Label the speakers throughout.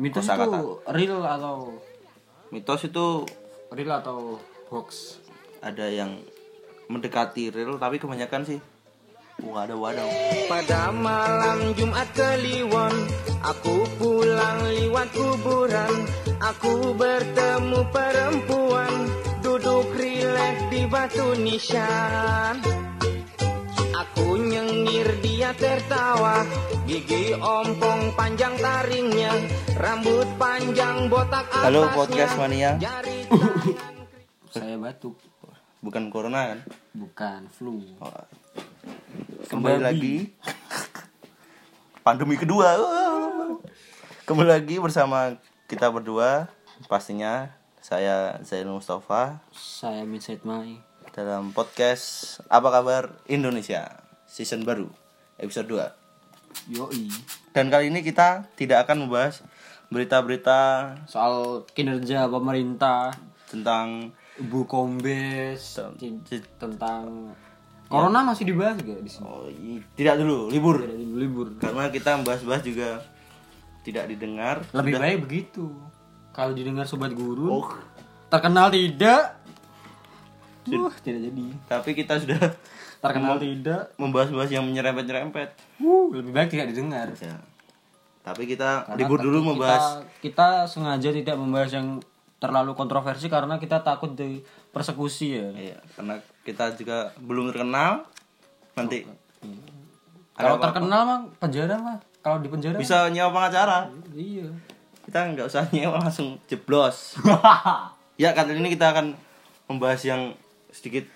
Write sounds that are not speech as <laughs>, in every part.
Speaker 1: Mitos
Speaker 2: Kosa kata.
Speaker 1: itu real atau
Speaker 2: Mitos itu
Speaker 1: real atau hoax?
Speaker 2: ada yang mendekati real tapi kebanyakan sih wadah-wadah.
Speaker 3: Pada malam Jumat Kliwon Aku pulang liwat kuburan Aku bertemu perempuan Duduk rileks di batu nisan Aku nyengir dia tertawa Gigi ompong panjang taringnya Rambut panjang botak atasnya
Speaker 2: Halo, podcast mania.
Speaker 3: Jari
Speaker 1: Saya batuk,
Speaker 2: Bukan corona kan?
Speaker 1: bukan flu.
Speaker 2: Oh.
Speaker 1: Kembali.
Speaker 2: Kembali lagi pandemi kedua. Kembali lagi bersama kita berdua pastinya saya Zainul Mustafa
Speaker 1: Saya mindset mai.
Speaker 2: dalam podcast Apa Kabar Indonesia season baru episode 2.
Speaker 1: Yoi.
Speaker 2: Dan kali ini kita tidak akan membahas berita-berita
Speaker 1: Soal kinerja pemerintah,
Speaker 2: tentang
Speaker 1: Bu Kombes,
Speaker 2: Tem- Ya.
Speaker 1: ti- tentang Corona masih dibahas gak di sini?
Speaker 2: oh, i- tidak dulu libur
Speaker 1: Dari libur.
Speaker 2: karena kita membahas-bahas juga tidak didengar.
Speaker 1: Lebih
Speaker 2: Sudah-
Speaker 1: baik begitu. Kalau didengar sobat guru,
Speaker 2: Oh,
Speaker 1: terkenal tidak? Duh, tidak jadi.
Speaker 2: tapi kita sudah <laughs>
Speaker 1: Terkenal
Speaker 2: Nah.
Speaker 1: tidak?
Speaker 2: membahas-bahas yang menyerempet-nyerempet.
Speaker 1: Wuh, lebih baik tidak didengar.
Speaker 2: Ya. Tapi kita
Speaker 1: Karena
Speaker 2: libur
Speaker 1: tadi
Speaker 2: dulu
Speaker 1: kita-
Speaker 2: membahas
Speaker 1: Kita sengaja tidak membahas yang terlalu kontroversi karena kita takut di persekusi ya.
Speaker 2: Iya, karena kita juga belum terkenal. Nanti
Speaker 1: Kalau terkenal mah penjara mah. Kalau di penjara
Speaker 2: bisa nyewa pengacara.
Speaker 1: iya. <laughs>
Speaker 2: Kita nggak usah nyewa langsung jeblos. ya, kali ini kita akan membahas yang sedikit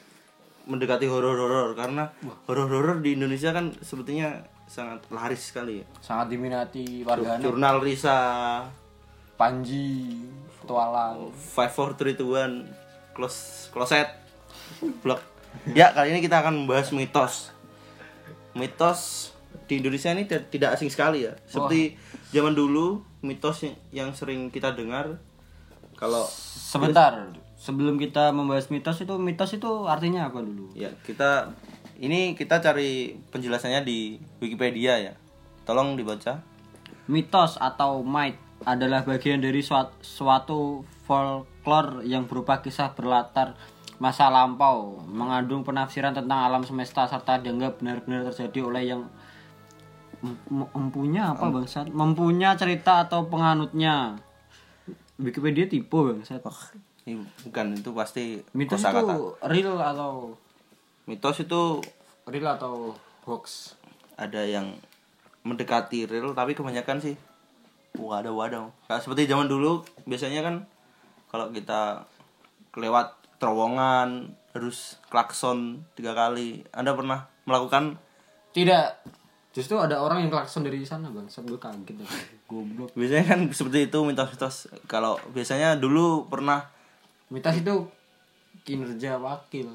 Speaker 2: mendekati horor-horor karena horor-horor di Indonesia kan sepertinya sangat laris sekali ya.
Speaker 1: Sangat diminati warga
Speaker 2: Jurnal Risa
Speaker 1: Panji, Tualang.
Speaker 2: 54321 close closet blok. Ya, kali ini kita akan membahas mitos. Mitos di Indonesia ini tidak tidak asing sekali ya. Seperti zaman dulu mitos yang- yang sering kita dengar kalau
Speaker 1: Sebentar, <laughs> sebelum kita membahas mitos itu mitos itu artinya apa dulu?
Speaker 2: ya kita ini kita cari penjelasannya di Wikipedia ya. Tolong dibaca.
Speaker 1: Mitos atau myth adalah bagian dari suat- suatu folklore yang berupa kisah berlatar masa lampau, mengandung penafsiran tentang alam semesta serta dianggap benar-benar terjadi oleh yang mem- mem- mempunyai apa bangsat? Mempunyai cerita atau penganutnya. Wikipedia tipe bangsat.
Speaker 2: Ini bukan itu pasti
Speaker 1: Mitos itu
Speaker 2: kosakata.
Speaker 1: real atau
Speaker 2: Mitos itu
Speaker 1: real atau hoax?
Speaker 2: ada yang mendekati real tapi kebanyakan sih wadah wadah Kayak seperti zaman dulu biasanya kan kalau kita kelewat terowongan harus klakson tiga kali anda pernah melakukan
Speaker 1: Tidak. Justru ada orang yang klakson dari sana bangsat. Gue kaget. ya. Goblok.
Speaker 2: biasanya kan seperti itu mitos-mitos kalau biasanya dulu pernah
Speaker 1: Mitos itu kinerja wakil.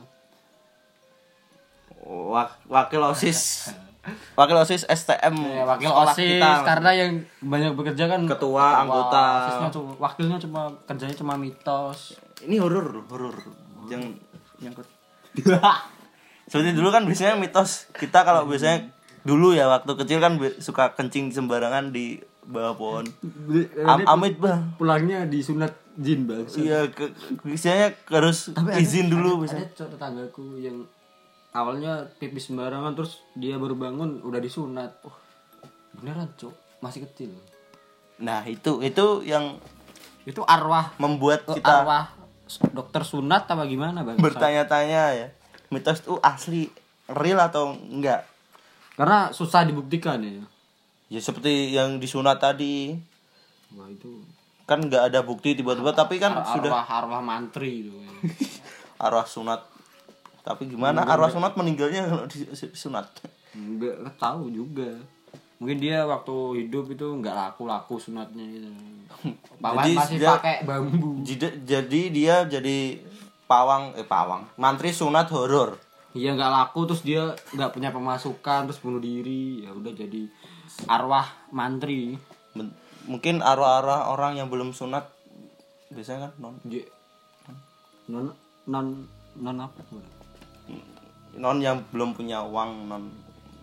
Speaker 2: wak- wakil
Speaker 1: <laughs>
Speaker 2: osis wakil osis STM
Speaker 1: Ya, wakil
Speaker 2: sekolah
Speaker 1: OSIS
Speaker 2: kita.
Speaker 1: karena yang banyak bekerja kan
Speaker 2: Ketua, anggota.
Speaker 1: OSISnya cuma- wakilnya cuma kerjanya cuma mitos.
Speaker 2: ini horor loh, horor yang nyangkut <laughs> seperti dulu kan biasanya mitos kita kalau biasanya dulu ya waktu kecil kan bi- suka kencing sembarangan di bawah pohon Am- amit bang
Speaker 1: pulangnya disunat jin bang.
Speaker 2: iya ke- biasanya harus izin dulu
Speaker 1: Ada
Speaker 2: biasanya
Speaker 1: cowok tetanggaku yang awalnya pipis sembarangan terus dia baru bangun udah disunat. Oh, beneran cok masih kecil.
Speaker 2: nah itu itu yang
Speaker 1: Itu arwah eh,
Speaker 2: membuat kita
Speaker 1: arwah dokter sunat apa gimana bang?
Speaker 2: bertanya-tanya ya mitos itu asli real atau enggak
Speaker 1: Karena susah dibuktikan ya.
Speaker 2: ya seperti yang disunat tadi
Speaker 1: Wah itu
Speaker 2: kan nggak ada bukti tiba-tiba tapi kan
Speaker 1: arwah
Speaker 2: sudah
Speaker 1: arwah mantri itu. ya.
Speaker 2: <laughs> arwah sunat tapi gimana arwah sunat meninggalnya kalau disunat
Speaker 1: nggak tahu juga mungkin dia waktu hidup itu nggak laku laku sunatnya gitu Pawan
Speaker 2: Jadi
Speaker 1: masih
Speaker 2: sejak-
Speaker 1: pakai bambu
Speaker 2: jadi, jadi dia jadi pawang eh pawang mantri sunat horor
Speaker 1: iya nggak laku terus dia nggak punya pemasukan terus bunuh diri ya udah jadi arwah mantri
Speaker 2: Men- mungkin arwah-arwah orang yang belum sunat biasanya kan non
Speaker 1: Dia- non non non apa
Speaker 2: non yang belum punya uang non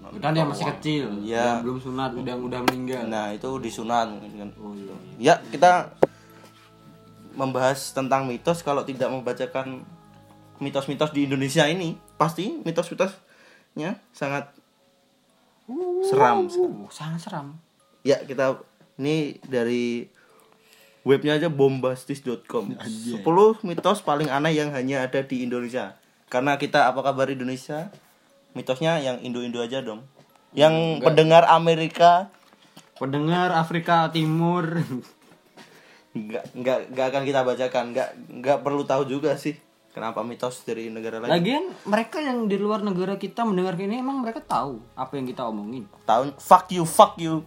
Speaker 1: Dan yang masih kecil,
Speaker 2: Iya.
Speaker 1: yang belum sunat, udah udah meninggal.
Speaker 2: Nah, itu disunat mungkin kan.
Speaker 1: Oh iya.
Speaker 2: Ya, kita membahas tentang mitos kalau tidak membacakan mitos-mitos di Indonesia ini, pasti mitos-mitosnya sangat seram. sekali.
Speaker 1: Uh, sangat seram.
Speaker 2: Ya, kita ini dari webnya aja bombastis.com. 10 mitos paling aneh yang hanya ada di Indonesia. Karena kita apa kabar Indonesia? Mitosnya yang Indo-Indo aja dong. Yang pendengar Amerika
Speaker 1: Pendengar Afrika Timur.
Speaker 2: nggak nggak nggak akan kita bacakan nggak nggak perlu tahu juga sih kenapa mitos dari negara lain
Speaker 1: Lagian mereka yang di luar negara kita mendengar ini emang mereka tahu apa yang kita omongin.
Speaker 2: tahun fuck you fuck you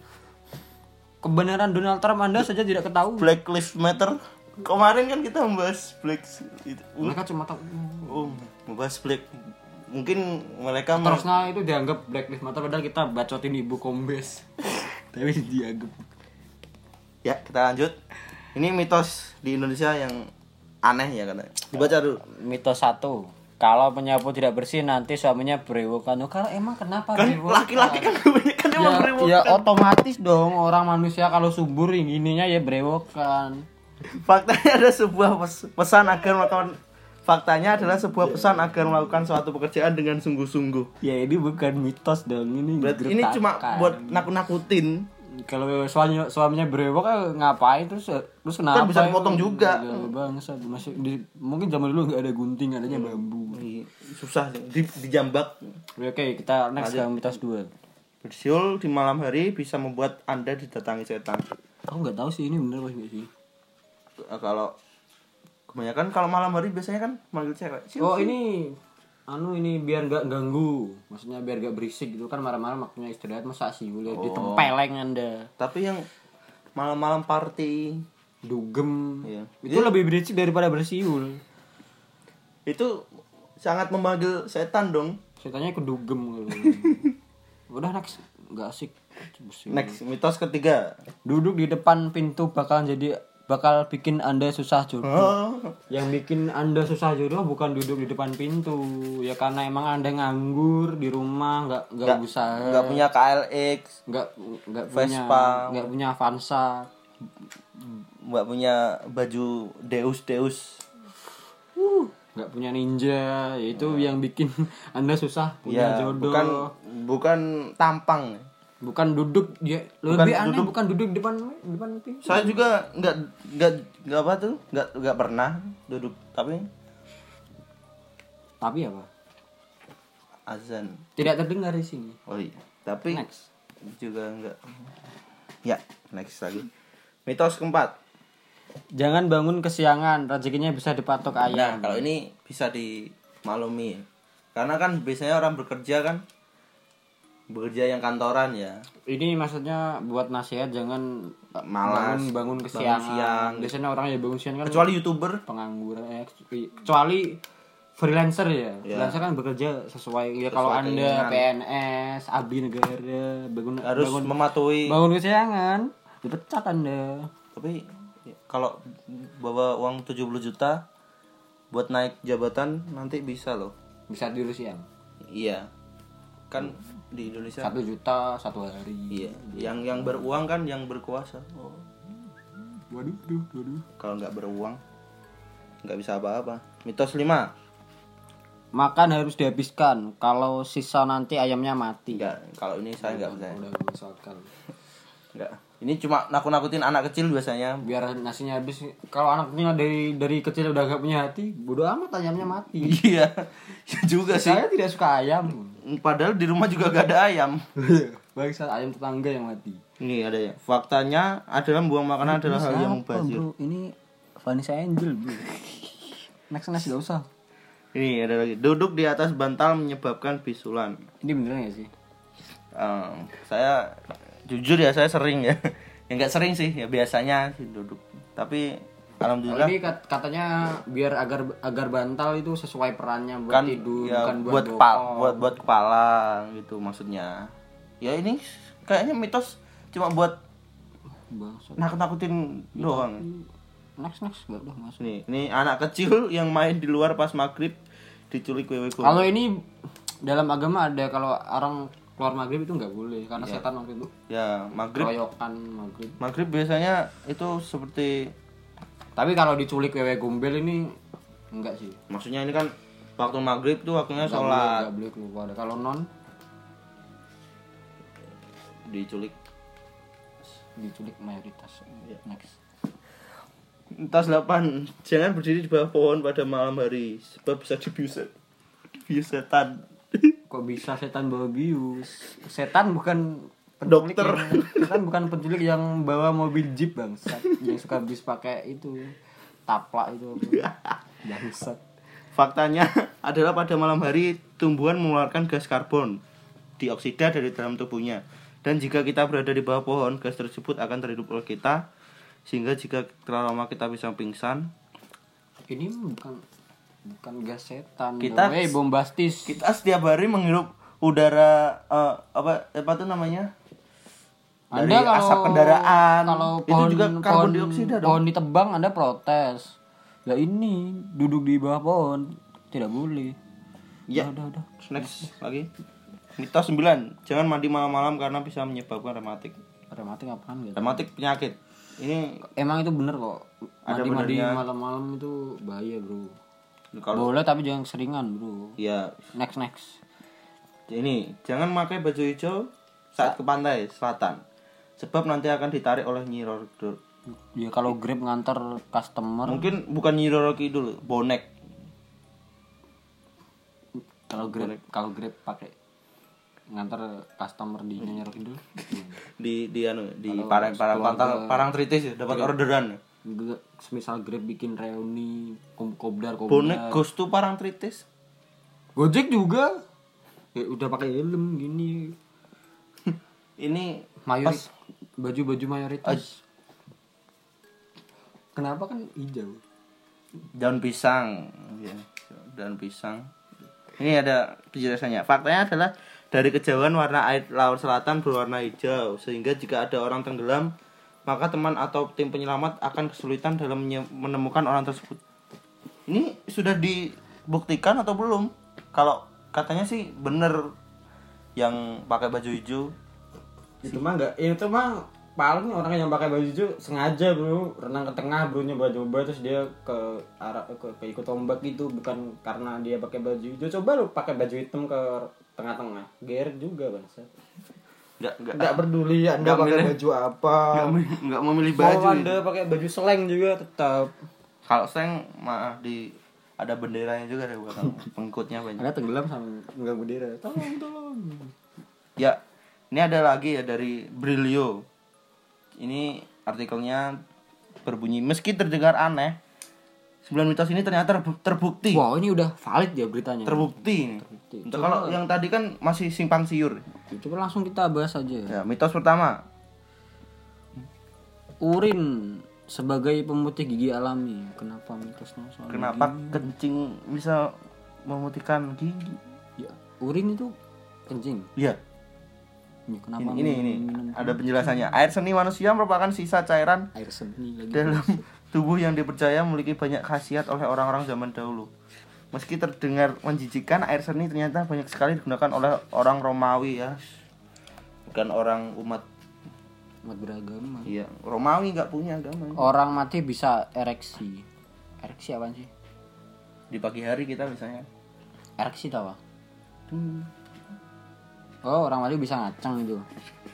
Speaker 1: Kebenaran Donald Trump Anda saja tidak ketahui.
Speaker 2: Black Lives Matter kemarin kan kita membahas Black itu
Speaker 1: Mereka cuma tahu "Hmm."
Speaker 2: oh, membahas Black mungkin mereka me-
Speaker 1: terusnya itu dianggap Black Lives Matter padahal kita bacotin ibu <laughs> kombes. Tapi dianggap
Speaker 2: ya kita lanjut ini mitos di Indonesia yang aneh ya katanya dibaca dulu
Speaker 1: mitos satu kalau penyapu tidak bersih nanti suaminya berewokan oh, kalau emang kenapa
Speaker 2: kan
Speaker 1: berewokan?
Speaker 2: laki-laki kan kebanyakan
Speaker 1: ya,
Speaker 2: emang
Speaker 1: ya
Speaker 2: berewokan.
Speaker 1: otomatis dong orang manusia kalau subur ininya ya berewokan
Speaker 2: Faktanya ada sebuah pes- pesan agar melakukan faktanya adalah sebuah pesan agar melakukan suatu pekerjaan dengan sungguh-sungguh.
Speaker 1: ya ini bukan mitos dong ini
Speaker 2: Berarti ini cuma
Speaker 1: gertakan.
Speaker 2: buat nakut-nakutin.
Speaker 1: kalau suaminya suaminya berewok eh, ngapain terus eh, terus kenapa
Speaker 2: Kan bisa
Speaker 1: ya?
Speaker 2: dipotong juga.
Speaker 1: Ya,
Speaker 2: Hmm.
Speaker 1: bangsa masih di- mungkin zaman dulu nggak ada gunting adanya
Speaker 2: Hmm.
Speaker 1: bambu
Speaker 2: Ih, Susah sih, di, dijambak.
Speaker 1: oke kita next ke mitos dua
Speaker 2: Bersiul di malam hari bisa membuat Anda didatangi setan.
Speaker 1: aku nggak tahu sih ini bener apa nggak sih
Speaker 2: Eh, Kalau kebanyakan kalau malam hari biasanya kan manggil cewek. Siul,
Speaker 1: Oh
Speaker 2: siul.
Speaker 1: ini anu ini biar nggak ganggu, maksudnya biar nggak berisik gitu kan marah-marah waktunya istirahat masa siul ya ditempeleng anda
Speaker 2: Tapi yang malam-malam party
Speaker 1: dugem
Speaker 2: Iya.
Speaker 1: itu lebih berisik daripada bersiul.
Speaker 2: itu sangat memanggil setan dong.
Speaker 1: Ceritanya ke dugem gitu. Udah next nggak asik. Bersiul.
Speaker 2: Next mitos ketiga.
Speaker 1: Duduk di depan pintu bakal jadi bakal bikin anda susah jodoh.
Speaker 2: Oh,
Speaker 1: Yang bikin anda susah jodoh bukan duduk di depan pintu ya karena emang anda nganggur di rumah nggak nggak usaha.
Speaker 2: nggak punya KLX.
Speaker 1: nggak nggak punya
Speaker 2: Vespa.
Speaker 1: nggak punya Avanza
Speaker 2: nggak punya baju Deus Deus
Speaker 1: nggak punya Ninja yaitu yang bikin <laughs> anda susah punya
Speaker 2: ya
Speaker 1: jodoh
Speaker 2: bukan
Speaker 1: Iya. bukan,
Speaker 2: bukan tampang
Speaker 1: duduk dia lebih aneh bukan duduk di depan di depan pintu
Speaker 2: saya juga nggak nggak nggak apa tuh nggak nggak pernah duduk tapi
Speaker 1: tapi apa
Speaker 2: azan
Speaker 1: tidak terdengar di sini
Speaker 2: oh iya tapi
Speaker 1: next
Speaker 2: juga nggak ya next lagi mitos keempat
Speaker 1: jangan bangun kesiangan rezekinya bisa dipatok
Speaker 2: nah
Speaker 1: ayam
Speaker 2: kalau ini bisa dimaklumi karena kan biasanya orang bekerja kan bekerja yang kantoran ya
Speaker 1: ini maksudnya buat nasihat jangan
Speaker 2: malas
Speaker 1: bangun bangun
Speaker 2: bangun
Speaker 1: kesiangan
Speaker 2: siang
Speaker 1: biasanya orang ya bangun siang kan
Speaker 2: kecuali youtuber
Speaker 1: pengangguran eh, kecuali freelancer ya. Freelancer kan bekerja sesuai ya kalau Anda PNS, abdi negara, bangun
Speaker 2: harus
Speaker 1: bangun,
Speaker 2: mematuhi
Speaker 1: bangun kesiangan, dipecat Anda.
Speaker 2: tapi kalau bawa uang 70 juta buat naik jabatan nanti bisa loh
Speaker 1: Bisa diurus siang.
Speaker 2: iya kan di Indonesia
Speaker 1: Satu juta satu hari.
Speaker 2: iya yang yang beruang kan yang berkuasa oh.
Speaker 1: Waduh, waduh, waduh.
Speaker 2: kalau nggak beruang nggak bisa apa-apa mitos 5
Speaker 1: Makan harus dihabiskan. Kalau sisa nanti ayamnya mati.
Speaker 2: nggak kalau ini saya nggak percaya
Speaker 1: Udah misalkan.
Speaker 2: nggak ini cuma nakut-nakutin anak kecil biasanya <laughs>
Speaker 1: Biar nasinya habis. Kalau anaknya dari dari kecil udah gak punya hati, bodoh amat ayamnya mati.
Speaker 2: iya iya juga sih
Speaker 1: Saya tidak suka ayam.
Speaker 2: padahal di rumah juga gak ada ayam
Speaker 1: Bangsa ayam tetangga yang mati.
Speaker 2: ini ada ya faktanya adalah buang makanan adalah hal yang mubazir
Speaker 1: bro? Ini Vanessa Angel, bro. next next gak usah.
Speaker 2: Ini ada lagi. Duduk di atas bantal menyebabkan bisulan.
Speaker 1: Ini beneran gak sih?
Speaker 2: Ehm, saya jujur ya saya sering ya. <laughs> Ya nggak sering sih ya biasanya sih duduk. Tapi alhamdulillah
Speaker 1: Ini kat- katanya biar agar agar bantal itu sesuai perannya buat
Speaker 2: kan
Speaker 1: tidur,
Speaker 2: ya,
Speaker 1: bukan buat,
Speaker 2: buat kepala buat buat kepala gitu maksudnya. Ya ini kayaknya mitos cuma buat
Speaker 1: Bangsa.
Speaker 2: nakut-nakutin doang.
Speaker 1: Next next gak udah masuk.
Speaker 2: Nih, ini anak kecil <laughs> yang main di luar pas maghrib diculik wewe guru.
Speaker 1: Kalau ini dalam agama ada kalau orang keluar maghrib itu nggak boleh karena setan waktu itu
Speaker 2: ya maghrib
Speaker 1: keroyokan maghrib
Speaker 2: maghrib biasanya itu seperti
Speaker 1: tapi kalau diculik wewe gombel ini enggak sih
Speaker 2: maksudnya ini kan waktu maghrib tuh waktunya
Speaker 1: Nggak boleh-
Speaker 2: sholat
Speaker 1: nggak boleh keluar kalau non
Speaker 2: diculik
Speaker 1: diculik mayoritas next
Speaker 2: Tas 8 Jangan berdiri di bawah pohon pada malam hari Sebab bisa dibius Dibius setan
Speaker 1: kok bisa setan bawa bius setan bukan penculik
Speaker 2: Dokter.
Speaker 1: yang- setan bukan penculik yang bawa mobil jeep bangsat yang suka bis pakai itu taplak
Speaker 2: <laughs>
Speaker 1: itu apa. bangsat
Speaker 2: <laughs> Faktanya adalah pada malam hari Tumbuhan mengeluarkan gas karbon Dioksida dari dalam tubuhnya Dan jika kita berada di bawah pohon Gas tersebut akan terhidup oleh kita Sehingga jika terlalu lama kita bisa pingsan
Speaker 1: ini bukan bukan gas setan
Speaker 2: Kita-
Speaker 1: Weh, bombastis
Speaker 2: Kita setiap hari menghirup udara eh, apa apa tuh namanya dari asap kendaraan
Speaker 1: kalau
Speaker 2: itu
Speaker 1: pohon,
Speaker 2: juga karbon
Speaker 1: pohon-
Speaker 2: dioksida dong
Speaker 1: pohon ditebang anda protes ya ini duduk di bawah pohon tidak boleh
Speaker 2: Ya.
Speaker 1: udah udah
Speaker 2: Next lagi. Mitos 9. Jangan mandi malam-malam karena bisa menyebabkan rematik.
Speaker 1: ada mati ngapain gitu
Speaker 2: Rematik penyakit. Ini
Speaker 1: emang itu bener kok
Speaker 2: Ada
Speaker 1: mandi mandi
Speaker 2: benernya.
Speaker 1: malam-malam itu bahaya bro
Speaker 2: kalau
Speaker 1: boleh tapi jangan seringan bro
Speaker 2: ya
Speaker 1: next next
Speaker 2: ini jangan pakai baju hijau saat ke pantai selatan. Sebab nanti akan ditarik oleh Nyi Roro Kidul.
Speaker 1: ya kalau grab nganter customer
Speaker 2: Mungkin bukan Nyi Roro Kidul, bonek. <laughs>
Speaker 1: kalau grab kalau grab pakai nganter customer di nyanyar kidul
Speaker 2: Di di anu di parang parang parang, parang tritis ya, dapat orderan.
Speaker 1: Gue- semisal grab bikin reuni kom kobdar kobdar
Speaker 2: Bonek ghost tuh parang tritis.
Speaker 1: gojek juga ya udah pakai helm gini
Speaker 2: Ini
Speaker 1: mayoritas baju-baju mayoritas kenapa kan hijau
Speaker 2: daun pisang ya, daun pisang ini ada penjelasannya faktanya adalah dari kejauhan warna air laut selatan berwarna hijau sehingga jika ada orang tenggelam maka teman atau tim penyelamat akan kesulitan dalam menye- menemukan orang tersebut ini sudah dibuktikan atau belum kalau katanya sih bener yang pakai baju hijau
Speaker 1: itu mah enggak itu mah paling orang yang pakai baju hijau sengaja bro renang ke tengah bro nyoba-nyoba terus dia ke arah ke, ke ikut ombak gitu bukan karena dia pakai baju hijau coba lu pakai baju hitam ke tengah-tengah ger juga bangsa
Speaker 2: nggak Ya, ah, nggak
Speaker 1: nggak peduli anda pakai baju apa
Speaker 2: nggak me- nggak memilih
Speaker 1: mau
Speaker 2: baju ya.
Speaker 1: anda pakai baju seleng juga tetap
Speaker 2: kalau seng mah di ada benderanya juga ada buat kamu. pengikutnya banyak
Speaker 1: anda tenggelam sama nggak bendera tolong tolong
Speaker 2: Ya, ini ada lagi ya dari Brilio. Ini artikelnya berbunyi meski terdengar aneh, 9 mitos ini ternyata terbu- terbukti.
Speaker 1: wow ini udah valid ya beritanya
Speaker 2: Terbukti. ini. Untuk kalau yang tadi kan masih simpang siur.
Speaker 1: coba langsung kita bahas aja
Speaker 2: Ya, mitos pertama,
Speaker 1: urin sebagai pemutih gigi alami kenapa mitosnya soal
Speaker 2: kenapa kencing bisa memutihkan gigi?
Speaker 1: gigi? ya, urin itu kencing
Speaker 2: Ya,
Speaker 1: ya, kenapa
Speaker 2: ini ini, ini. ada penjelasannya. Air seni manusia merupakan sisa cairan
Speaker 1: air seni lagi
Speaker 2: dalam tubuh yang dipercaya memiliki banyak khasiat oleh orang-orang zaman dahulu. Meski terdengar menjijikan, air seni ternyata banyak sekali digunakan oleh orang Romawi ya. Bukan orang umat
Speaker 1: umat beragama
Speaker 2: iya, Romawi nggak punya agama.
Speaker 1: orang mati bisa ereksi ereksi apa sih
Speaker 2: Di pagi hari kita misalnya.
Speaker 1: ereksi tau apa?
Speaker 2: Hmm.
Speaker 1: oh orang mati bisa ngaceng gitu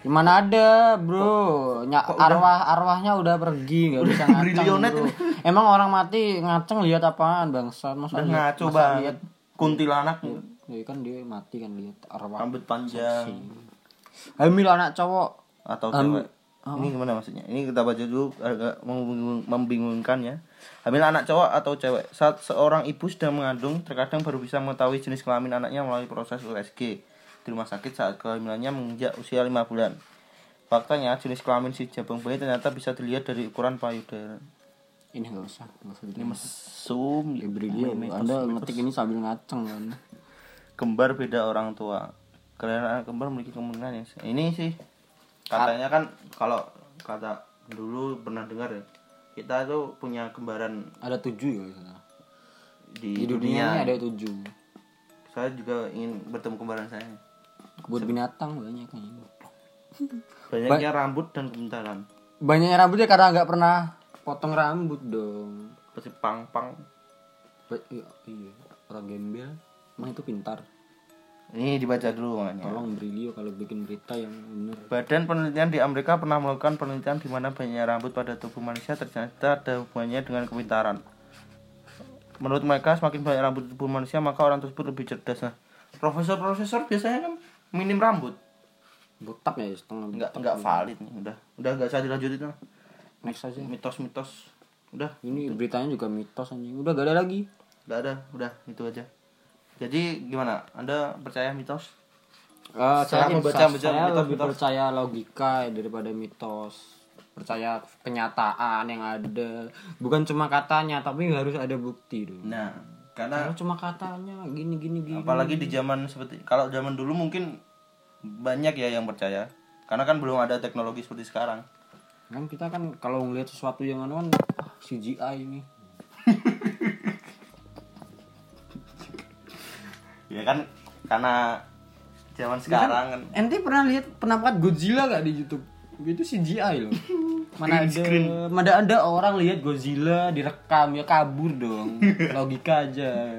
Speaker 1: Gimana ada bro Nya- Arwah arwahnya udah pergi nggak
Speaker 2: <laughs>
Speaker 1: bisa ngaceng
Speaker 2: brilionet
Speaker 1: bro. Emang orang mati ngaceng lihat apaan bangsat Masa lihat-
Speaker 2: Nah,
Speaker 1: masa
Speaker 2: coba
Speaker 1: lihat-
Speaker 2: kuntilanak
Speaker 1: Ya kan dia mati kan lihat arwah
Speaker 2: rambut panjang
Speaker 1: hamil anak cowok
Speaker 2: atau
Speaker 1: Hamil.
Speaker 2: cewek. Ini gimana maksudnya? Ini kita baca dulu agak membingung- membingungkan ya. Hamil anak cowok atau cewek. Saat seorang ibu sedang mengandung, terkadang baru bisa mengetahui jenis kelamin anaknya melalui proses USG di rumah sakit saat kehamilannya menginjak usia 5 bulan. Faktanya, jenis kelamin si jabang bayi ternyata bisa dilihat dari ukuran payudara.
Speaker 1: ini nggak usah nggak usah ini
Speaker 2: Mesum, ya,
Speaker 1: anda ngetik ini sambil ngaceng kan
Speaker 2: kembar beda orang tua. Karena anak kembar memiliki kemungkinan yang ini sih katanya kan kalau kata dulu pernah dengar ya kita tuh punya kembaran
Speaker 1: ada tujuh ya di sana.
Speaker 2: di,
Speaker 1: di dunia ini
Speaker 2: dunia.
Speaker 1: ada tujuh
Speaker 2: Saya juga ingin bertemu kembaran saya.
Speaker 1: kebun binatang banyak kan
Speaker 2: Banyaknya rambut dan kebentaran.
Speaker 1: banyaknya rambutnya ya, karena nggak pernah potong rambut dong
Speaker 2: Seperti pang-pang.
Speaker 1: Ba- iya, iya. orang gembel emang itu pintar
Speaker 2: Ini dibaca dulu makanya.
Speaker 1: tolong Brilio kalau bikin berita yang bener
Speaker 2: Badan penelitian di Amerika pernah melakukan penelitian di mana banyaknya rambut pada tubuh manusia ternyata ada hubungannya dengan kepintaran. Menurut mereka semakin banyak rambut di tubuh manusia maka orang tersebut lebih cerdas. Nah, profesor-profesor biasanya kan minim rambut.
Speaker 1: botak ya setengah
Speaker 2: Enggak enggak valid nih, udah. Udah enggak usah dilanjutin lah.
Speaker 1: next aja
Speaker 2: Mitos-mitos. Udah,
Speaker 1: ini beritanya juga mitos anjing udah gak ada lagi
Speaker 2: enggak ada, udah itu aja. Jadi gimana? Anda percaya mitos?
Speaker 1: Eh, saya
Speaker 2: Sekarang
Speaker 1: membaca
Speaker 2: membaca- membaca
Speaker 1: saya
Speaker 2: mitos-
Speaker 1: lebih
Speaker 2: mitos.
Speaker 1: percaya logika daripada mitos percaya kenyataan yang ada bukan cuma katanya tapi harus ada bukti dong
Speaker 2: Nah, karena
Speaker 1: Kalau cuma katanya gini gini gini
Speaker 2: apalagi di zaman seperti kalau zaman dulu mungkin banyak ya yang percaya karena kan belum ada teknologi seperti sekarang
Speaker 1: kan kita kan kalau ngelihat sesuatu yang anu kan ah, CGI ini
Speaker 2: ya kan karena zaman sekarang kan <laughs>
Speaker 1: ente pernah lihat penampakan Godzilla gak di YouTube itu CGI loh mana ada mana ada orang lihat Godzilla direkam ya kabur dong logika aja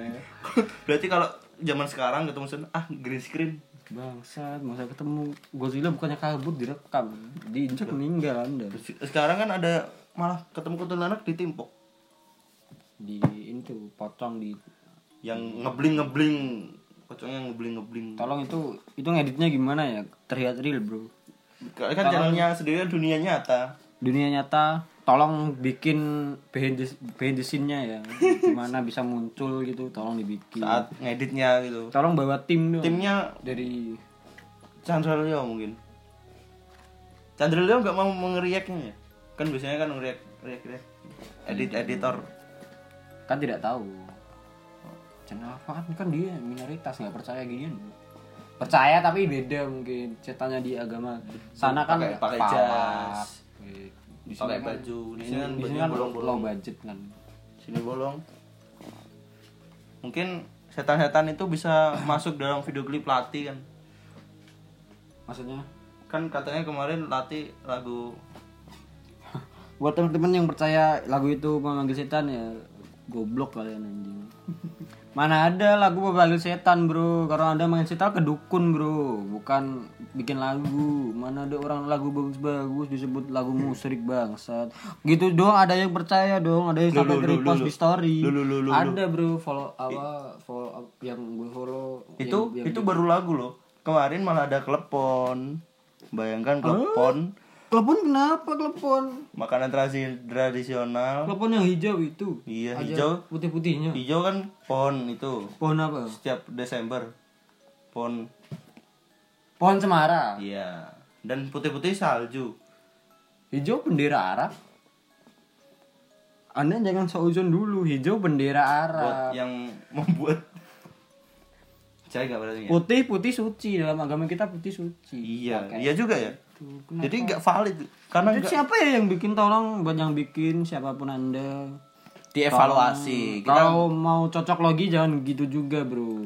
Speaker 2: berarti kalau zaman sekarang ketemu sen ah green screen
Speaker 1: Bangsat, masa ketemu Godzilla bukannya kabur direkam, diinjak meninggal Anda.
Speaker 2: sekarang kan ada malah ketemu kuntilanak di timpok
Speaker 1: Di itu potong di
Speaker 2: yang ngebling ngebling pocongnya ngebling ngebling
Speaker 1: tolong itu itu ngeditnya gimana ya? Terlihat real, Bro.
Speaker 2: kan channelnya sendiri kan dunia nyata
Speaker 1: Dunia nyata tolong bikin behind the, behind the scene-nya <laughs> ya. Gimana bisa muncul gitu, tolong dibikin.
Speaker 2: saat ngeditnya gitu
Speaker 1: Tolong bawa tim dong.
Speaker 2: timnya
Speaker 1: dari
Speaker 2: Chandra Leo mungkin Chandra Leo nggak mau mengeriaknya ya kan biasanya kan ngeriak riak riak edit editor
Speaker 1: kan tidak tahu. Channel apa kan kan dia minoritas nggak percaya ginian. Percaya tapi beda mungkin ceritanya di agama. Sana kan
Speaker 2: pakai pakai
Speaker 1: pawat.
Speaker 2: jas
Speaker 1: di sini
Speaker 2: pakai
Speaker 1: kan-
Speaker 2: baju di
Speaker 1: di
Speaker 2: sini kan
Speaker 1: di sini
Speaker 2: bajunya
Speaker 1: kan
Speaker 2: bolong
Speaker 1: low
Speaker 2: bolong
Speaker 1: budget kan
Speaker 2: sini bolong mungkin setan-setan itu bisa masuk dalam video klip Lati kan
Speaker 1: maksudnya
Speaker 2: kan katanya kemarin Lati lagu
Speaker 1: <laughs> buat teman-teman yang percaya lagu itu memanggil setan ya goblok kalian
Speaker 2: <laughs>
Speaker 1: anjing mana ada lagu memanggil setan bro karena anda main setan ke dukun bro bukan bikin lagu mana ada orang lagu bagus-bagus disebut lagu
Speaker 2: Hmm.
Speaker 1: musrik bangsat gitu dong ada yang percaya dong ada yang sampai di repost di story ada bro follow apa follow up yang gue follow
Speaker 2: itu itu baru lagu loh kemarin malah ada klepon bayangkan klepon
Speaker 1: telepon kenapa telepon
Speaker 2: makanan tradi- tradisional
Speaker 1: telepon yang hijau itu
Speaker 2: Iya, hijau.
Speaker 1: putih-putihnya
Speaker 2: Hijau kan pohon itu
Speaker 1: pohon apa
Speaker 2: setiap Desember. Pohon.
Speaker 1: pohon cemara
Speaker 2: Iya. Dan putih-putih salju.
Speaker 1: hijau bendera Arab anda jangan seuzon dulu hijau bendera Arab
Speaker 2: Buat yang <laughs> membuat Saya nggak berarti ya?
Speaker 1: putih putih suci dalam agama kita putih suci
Speaker 2: Iya, iya juga ya.
Speaker 1: Tuh, kenapa?
Speaker 2: Jadi nggak valid karena
Speaker 1: Itu
Speaker 2: nggak
Speaker 1: siapa ya yang bikin tolong buat yang bikin siapapun anda
Speaker 2: Ah, dievaluasi. Kita
Speaker 1: kalau mau cocok logi jangan gitu juga bro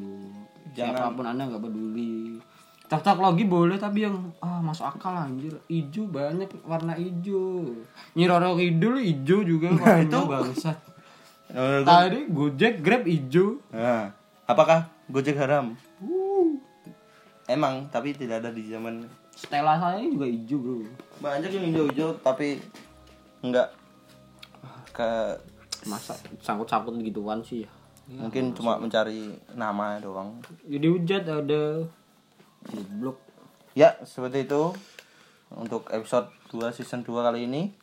Speaker 2: Jangan.
Speaker 1: siapapun anda nggak peduli cocok logi boleh tapi yang ah masuk akal anjir ijo banyak warna ijo nyiroro kidul ijo juga warnanya
Speaker 2: Nah, itu-
Speaker 1: bangsat
Speaker 2: Menurut gua-
Speaker 1: tadi gojek grab ijo
Speaker 2: Nah, apakah Gojek haram?
Speaker 1: Uh.
Speaker 2: Emang, tapi tidak ada di zaman
Speaker 1: stella saya juga ijo bro
Speaker 2: banyak yang hijau-hijau tapi nggak ke
Speaker 1: masa sangkut-sangkut gituan sih ya
Speaker 2: mungkin cuma mencari nama doang
Speaker 1: jadi hujat ada goblok
Speaker 2: Ya, seperti itu untuk episode 2 season 2 kali ini.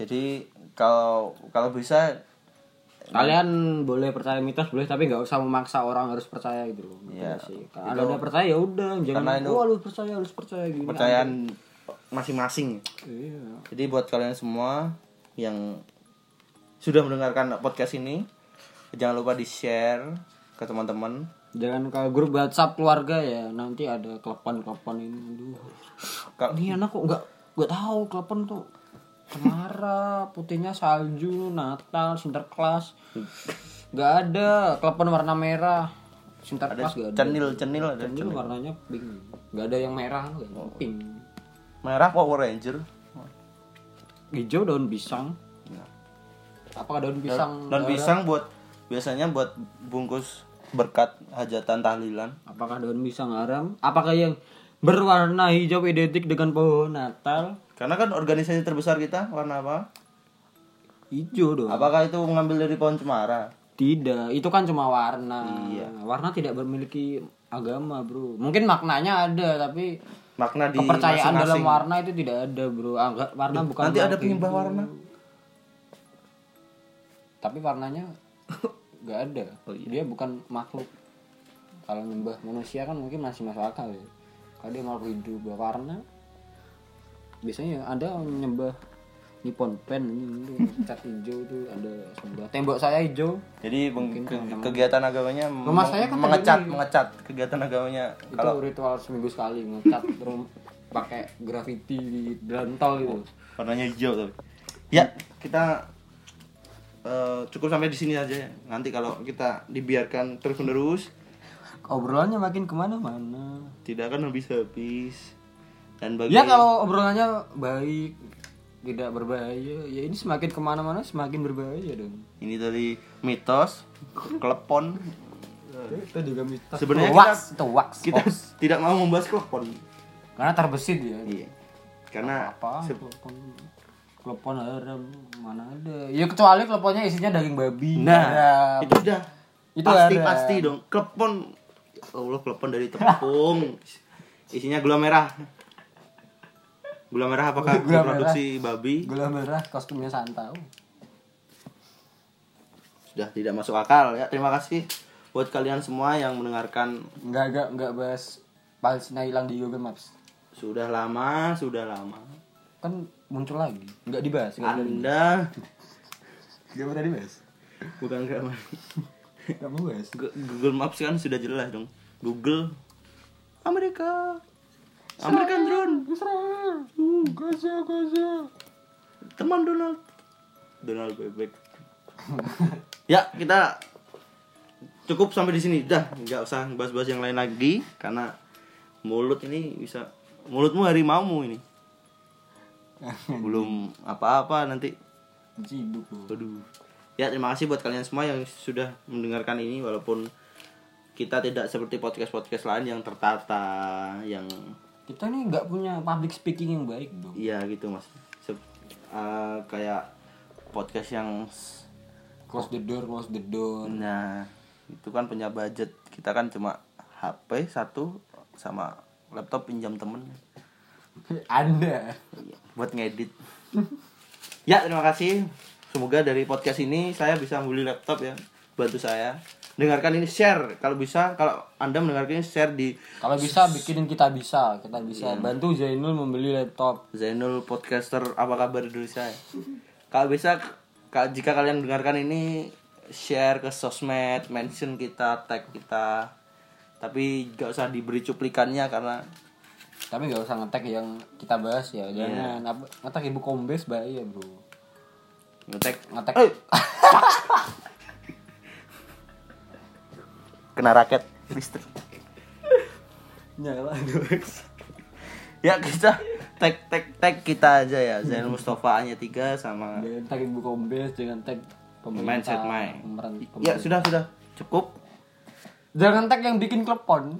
Speaker 2: Jadi kalau kalau bisa
Speaker 1: kalian boleh percaya mitos boleh tapi nggak usah memaksa orang harus percaya gitu loh Ngerti
Speaker 2: Iya,
Speaker 1: nggak sih kalau udah percaya ya udah jangan
Speaker 2: karena itu-
Speaker 1: oh harus percaya harus percaya gini
Speaker 2: percayaan masing-masing.
Speaker 1: iya
Speaker 2: Jadi buat kalian semua yang sudah mendengarkan podcast ini, jangan lupa di-share ke teman-teman.
Speaker 1: jangan ke grup WhatsApp keluarga ya nanti ada kelepon kelepon ini aduh
Speaker 2: Ka-
Speaker 1: ini anak kok nggak nggak tahu kelepon tuh cemara putihnya salju Natal Sinterklas nggak ada kelepon warna merah Sinter pas
Speaker 2: ada
Speaker 1: gak ada.
Speaker 2: cenil cenil ada
Speaker 1: Cenil
Speaker 2: cenil.
Speaker 1: warnanya pink. Gak ada yang merah kan pink.
Speaker 2: merah Power Ranger
Speaker 1: Hijau daun bisang.
Speaker 2: Nah.
Speaker 1: Apa daun bisang? darah?
Speaker 2: dan pisang buat biasanya buat bungkus berkat hajatan tahlilan
Speaker 1: Apakah daun pisang haram? Apakah yang berwarna hijau identik dengan pohon Natal?
Speaker 2: karena kan organisasi terbesar kita warna apa
Speaker 1: Hijau dong.
Speaker 2: apakah itu mengambil dari pohon cemara
Speaker 1: Tidak, itu kan cuma warna.
Speaker 2: Iya.
Speaker 1: Warna tidak memiliki agama, Bro. Mungkin maknanya ada, tapi
Speaker 2: makna di
Speaker 1: kepercayaan dalam
Speaker 2: masing-masing.
Speaker 1: warna itu tidak ada, Bro. Angga, warna bukan
Speaker 2: nanti ada
Speaker 1: berarti
Speaker 2: penyembah
Speaker 1: itu.
Speaker 2: warna
Speaker 1: Tapi warnanya nggak
Speaker 2: <laughs>
Speaker 1: ada.
Speaker 2: Oh, iya.
Speaker 1: Dia bukan makhluk. Kalau nyembah manusia kan mungkin masih masuk akal ya. Kalau dia makhluk hidup berwarna biasanya ada yang nyembah Nippon pen itu cat hijau itu ada sembah. Tembok saya hijau.
Speaker 2: jadi meng- ke- kegiatan agamanya
Speaker 1: Rumah saya kan ada
Speaker 2: mengecat
Speaker 1: di-
Speaker 2: mengecat kegiatan agamanya kalau
Speaker 1: itu ritual seminggu sekali ngecat <laughs> room pakai graffiti di jalan tol gitu
Speaker 2: warnanya hijau tapi ya kita eh, cukup sampai di sini aja ya nanti kalau kita dibiarkan terus menerus
Speaker 1: obrolannya makin kemana-mana
Speaker 2: tidak akan habis habis dan bagi
Speaker 1: ya kalau obrolannya baik tidak berbahaya ya ini semakin kemana-mana semakin berbahaya dong
Speaker 2: ini dari mitos klepon
Speaker 1: Nah, kita juga mitos
Speaker 2: Sebenarnya
Speaker 1: Itu wax,
Speaker 2: kita-
Speaker 1: itu wax
Speaker 2: kita
Speaker 1: hoax.
Speaker 2: tidak mau membahas klepon
Speaker 1: karena terbesit ya
Speaker 2: iya karena
Speaker 1: apa
Speaker 2: se-
Speaker 1: telepon telepon haram mana ada ya kecuali teleponnya isinya daging babi
Speaker 2: nah
Speaker 1: haram.
Speaker 2: itu sudah
Speaker 1: Itu
Speaker 2: pasti
Speaker 1: ada.
Speaker 2: pasti dong klepon Ya Allah klepon dari tepung isinya gula merah gula merah apakah
Speaker 1: Gula merah.
Speaker 2: produksi babi
Speaker 1: gula merah kostumnya santau
Speaker 2: sudah tidak masuk akal ya terima kasih buat kalian semua yang mendengarkan
Speaker 1: nggak nggak nggak bahas Palestina hilang di Google Maps
Speaker 2: sudah lama sudah lama
Speaker 1: kan muncul lagi nggak dibahas nggak berani
Speaker 2: anda
Speaker 1: nggak berani dibahas
Speaker 2: bukan nggak mau.
Speaker 1: nggak mau bahas
Speaker 2: Gu- Google Maps kan sudah jelas dong Google Amerika American drone Hmm.
Speaker 1: Israel uh, Gaza Gaza
Speaker 2: teman Donald Donald bebek
Speaker 1: <laughs>
Speaker 2: ya kita cukup sampai di sini dah nggak usah bahas-bahas yang lain lagi karena mulut ini bisa mulutmu harimaumu
Speaker 1: <laughs>
Speaker 2: ini belum apa-apa nanti
Speaker 1: ciduk lu.
Speaker 2: Waduh. Ya terima kasih buat kalian semua yang sudah mendengarkan ini walaupun kita tidak seperti podcast-podcast lain yang tertata, yang
Speaker 1: kita nih nggak punya public speaking yang baik dong
Speaker 2: iya gitu mas. Sep- eh, kayak podcast yang s-
Speaker 1: close the door close the door <laughs>
Speaker 2: nah itu kan punya budget kita kan cuma HP satu sama laptop pinjam temen
Speaker 1: anda
Speaker 2: buat ngedit. ya terima kasih. Semoga dari podcast ini saya bisa beli laptop ya. Bantu saya. Dengarkan ini share kalau bisa kalau Anda mendengarkan ini share di
Speaker 1: kalau bisa bikinin kita bisa kita
Speaker 2: Iya.
Speaker 1: bisa bantu Zainul membeli laptop
Speaker 2: Zainul podcaster apa kabar Indonesia. ya? kalau bisa ka- jika kalian mendengarkan ini share ke sosmed, mention kita, tag kita. Tapi gak usah diberi cuplikannya karena
Speaker 1: tapi nggak usah ngetek yang kita bahas ya
Speaker 2: Iya.
Speaker 1: jangan Apa- ngetek ibu kombes bahaya bro
Speaker 2: ngetek
Speaker 1: ngetek <laughs>
Speaker 2: Eh. kena raket listrik.
Speaker 1: nyala
Speaker 2: <laughs> ya kita tag tag tag kita aja ya Zain Mustafa hanya tiga sama
Speaker 1: jangan tag ibu kombes jangan tag pemerintah
Speaker 2: mindset Mai
Speaker 1: pemeran-
Speaker 2: ya
Speaker 1: pemerintah.
Speaker 2: sudah sudah cukup
Speaker 1: jangan tag yang bikin klepon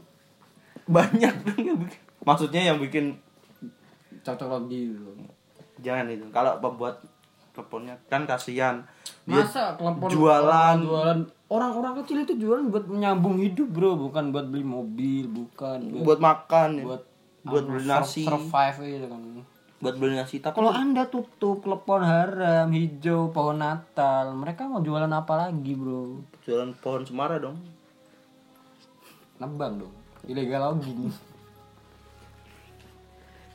Speaker 2: banyak dong yang bikin maksudnya yang bikin
Speaker 1: cocok lagi gitu.
Speaker 2: jangan itu kalau pembuat teleponnya kan kasihan dia
Speaker 1: masa klepon
Speaker 2: jualan.
Speaker 1: jualan orang-orang kecil itu jualan buat menyambung hidup bro bukan buat beli mobil bukan
Speaker 2: buat makan ya.
Speaker 1: buat
Speaker 2: buat
Speaker 1: apa,
Speaker 2: beli
Speaker 1: sur-
Speaker 2: nasi
Speaker 1: survive gitu kan
Speaker 2: buat beli nasi tapi
Speaker 1: kalau anda tutup klepon haram hijau pohon natal mereka mau jualan apa lagi bro
Speaker 2: jualan pohon cemara dong
Speaker 1: nebang dong ilegal logging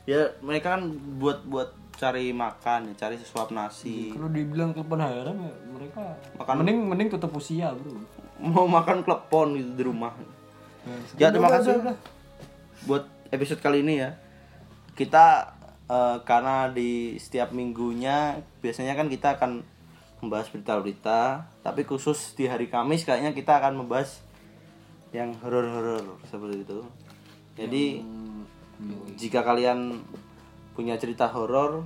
Speaker 2: ya mereka kan buat buat cari makan ya, cari sesuap nasi
Speaker 1: kalau dibilang klepon haram ya mereka
Speaker 2: Makan-
Speaker 1: mending mending tutup usia bro Hmm.
Speaker 2: mau makan klepon gitu di rumah Ya terima kasih buat episode kali ini ya. Kita eh, karena di setiap minggunya biasanya kan kita akan membahas berita-berita, tapi khusus di hari Kamis kayaknya kita akan membahas yang horor-horor seperti itu. Jadi jika kalian punya cerita horor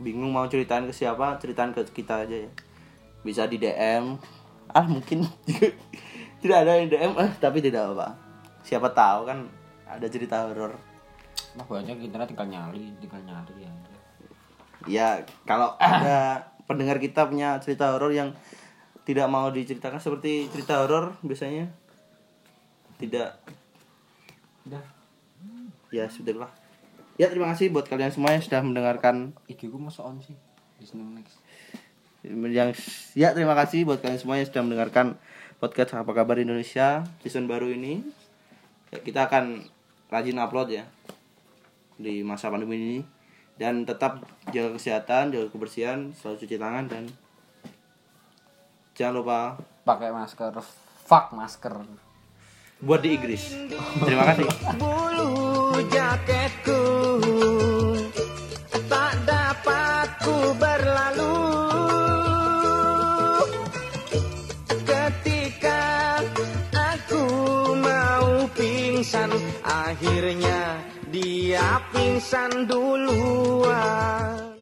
Speaker 2: bingung mau ceritain ke siapa, ceritain ke kita aja ya. Bisa di DM. Ah, mungkin <laughs> tidak ada yang DM, eh, tapi tidak apa. Siapa tahu kan ada cerita horor.
Speaker 1: Nah banyak internet tinggal nyari, tinggal nyari ya.
Speaker 2: Ya, kalau ada pendengar kita punya cerita horor yang tidak mau diceritakan seperti cerita horor biasanya tidak
Speaker 1: Udah,
Speaker 2: ya sudahlah. Ya, terima kasih buat kalian semua yang sudah mendengarkan
Speaker 1: IG ku masuk on sih. Di seneng next.
Speaker 2: yang ya terima kasih buat kalian semua yang sudah mendengarkan podcast apa kabar Indonesia season baru ini Ya, kita akan rajin upload ya di masa pandemi ini dan tetap jaga kesehatan jaga kebersihan selalu cuci tangan dan jangan lupa
Speaker 1: Pakai masker. Fuck masker.
Speaker 2: buat di Inggris terima kasih
Speaker 3: bulu jaketku tak dapat ku berlalu ketika aku mau pingsan akhirnya dia pingsan duluan